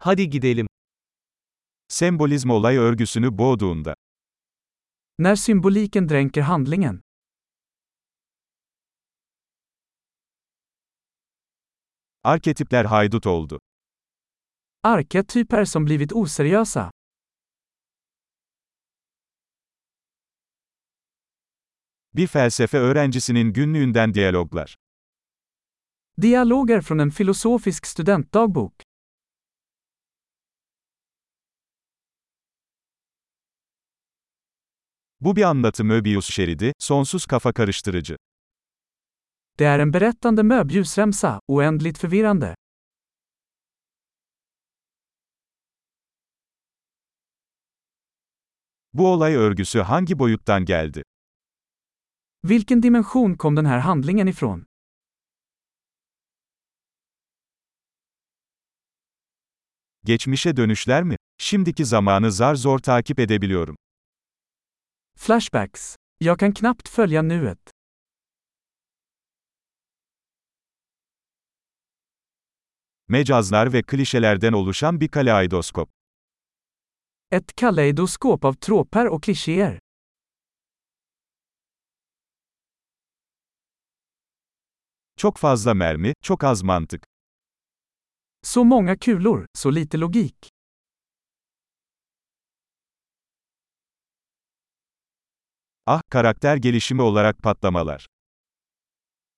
Hadi gidelim. Sembolizm olay örgüsünü boğduğunda, När symboliken dränker handlingen. arketipler haydut oldu. Arketyper som blivit oseriösa. Bir felsefe öğrencisinin günlüğünden diyaloglar. Dialoger från en filosofisk studentdagbok. Bu bir anlatı Möbius şeridi, sonsuz kafa karıştırıcı. Det är en berättande möbiusremsa, oändligt förvirrande. Bu olay örgüsü hangi boyuttan geldi? Vilken dimension kom den här handlingen ifrån? Geçmişe dönüşler mi? Şimdiki zamanı zar zor takip edebiliyorum. Flashbacks. Jag kan knappt följa nuet. Mecazlar ve klişelerden oluşan bir kaleidoskop. Ett kaleidoskop av tråper och klichéer. Çok fazla mermi, çok az mantık. Så många kulor, så lite logik. Ah, karakter gelişimi olarak patlamalar.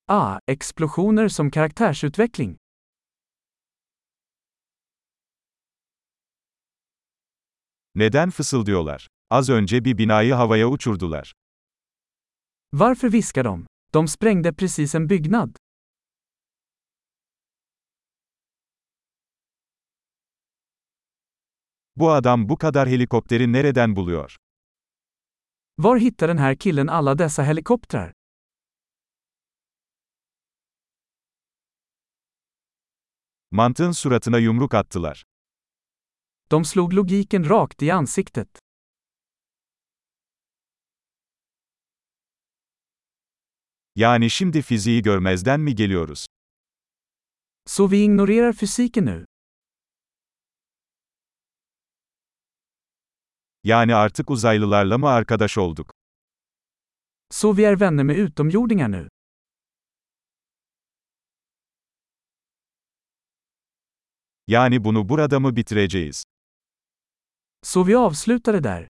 Ah, explosioner som karaktärsutveckling. Neden fısıldıyorlar? Az önce bir binayı havaya uçurdular. Varför viskar de? De sprängde precis en byggnad. Bu adam bu kadar helikopteri nereden buluyor? Var hittar den här killen alla dessa helikoptrar? Mantığın suratına yumruk attılar. De slog logiken rakt i ansiktet. Yani şimdi fiziği görmezden mi geliyoruz? Så vi ignorerar fysiken nu. Yani artık uzaylılarla mı arkadaş olduk? Så vi är vänner med utomjordingar nu. Yani bunu burada mı bitireceğiz? Så vi avslutar det där.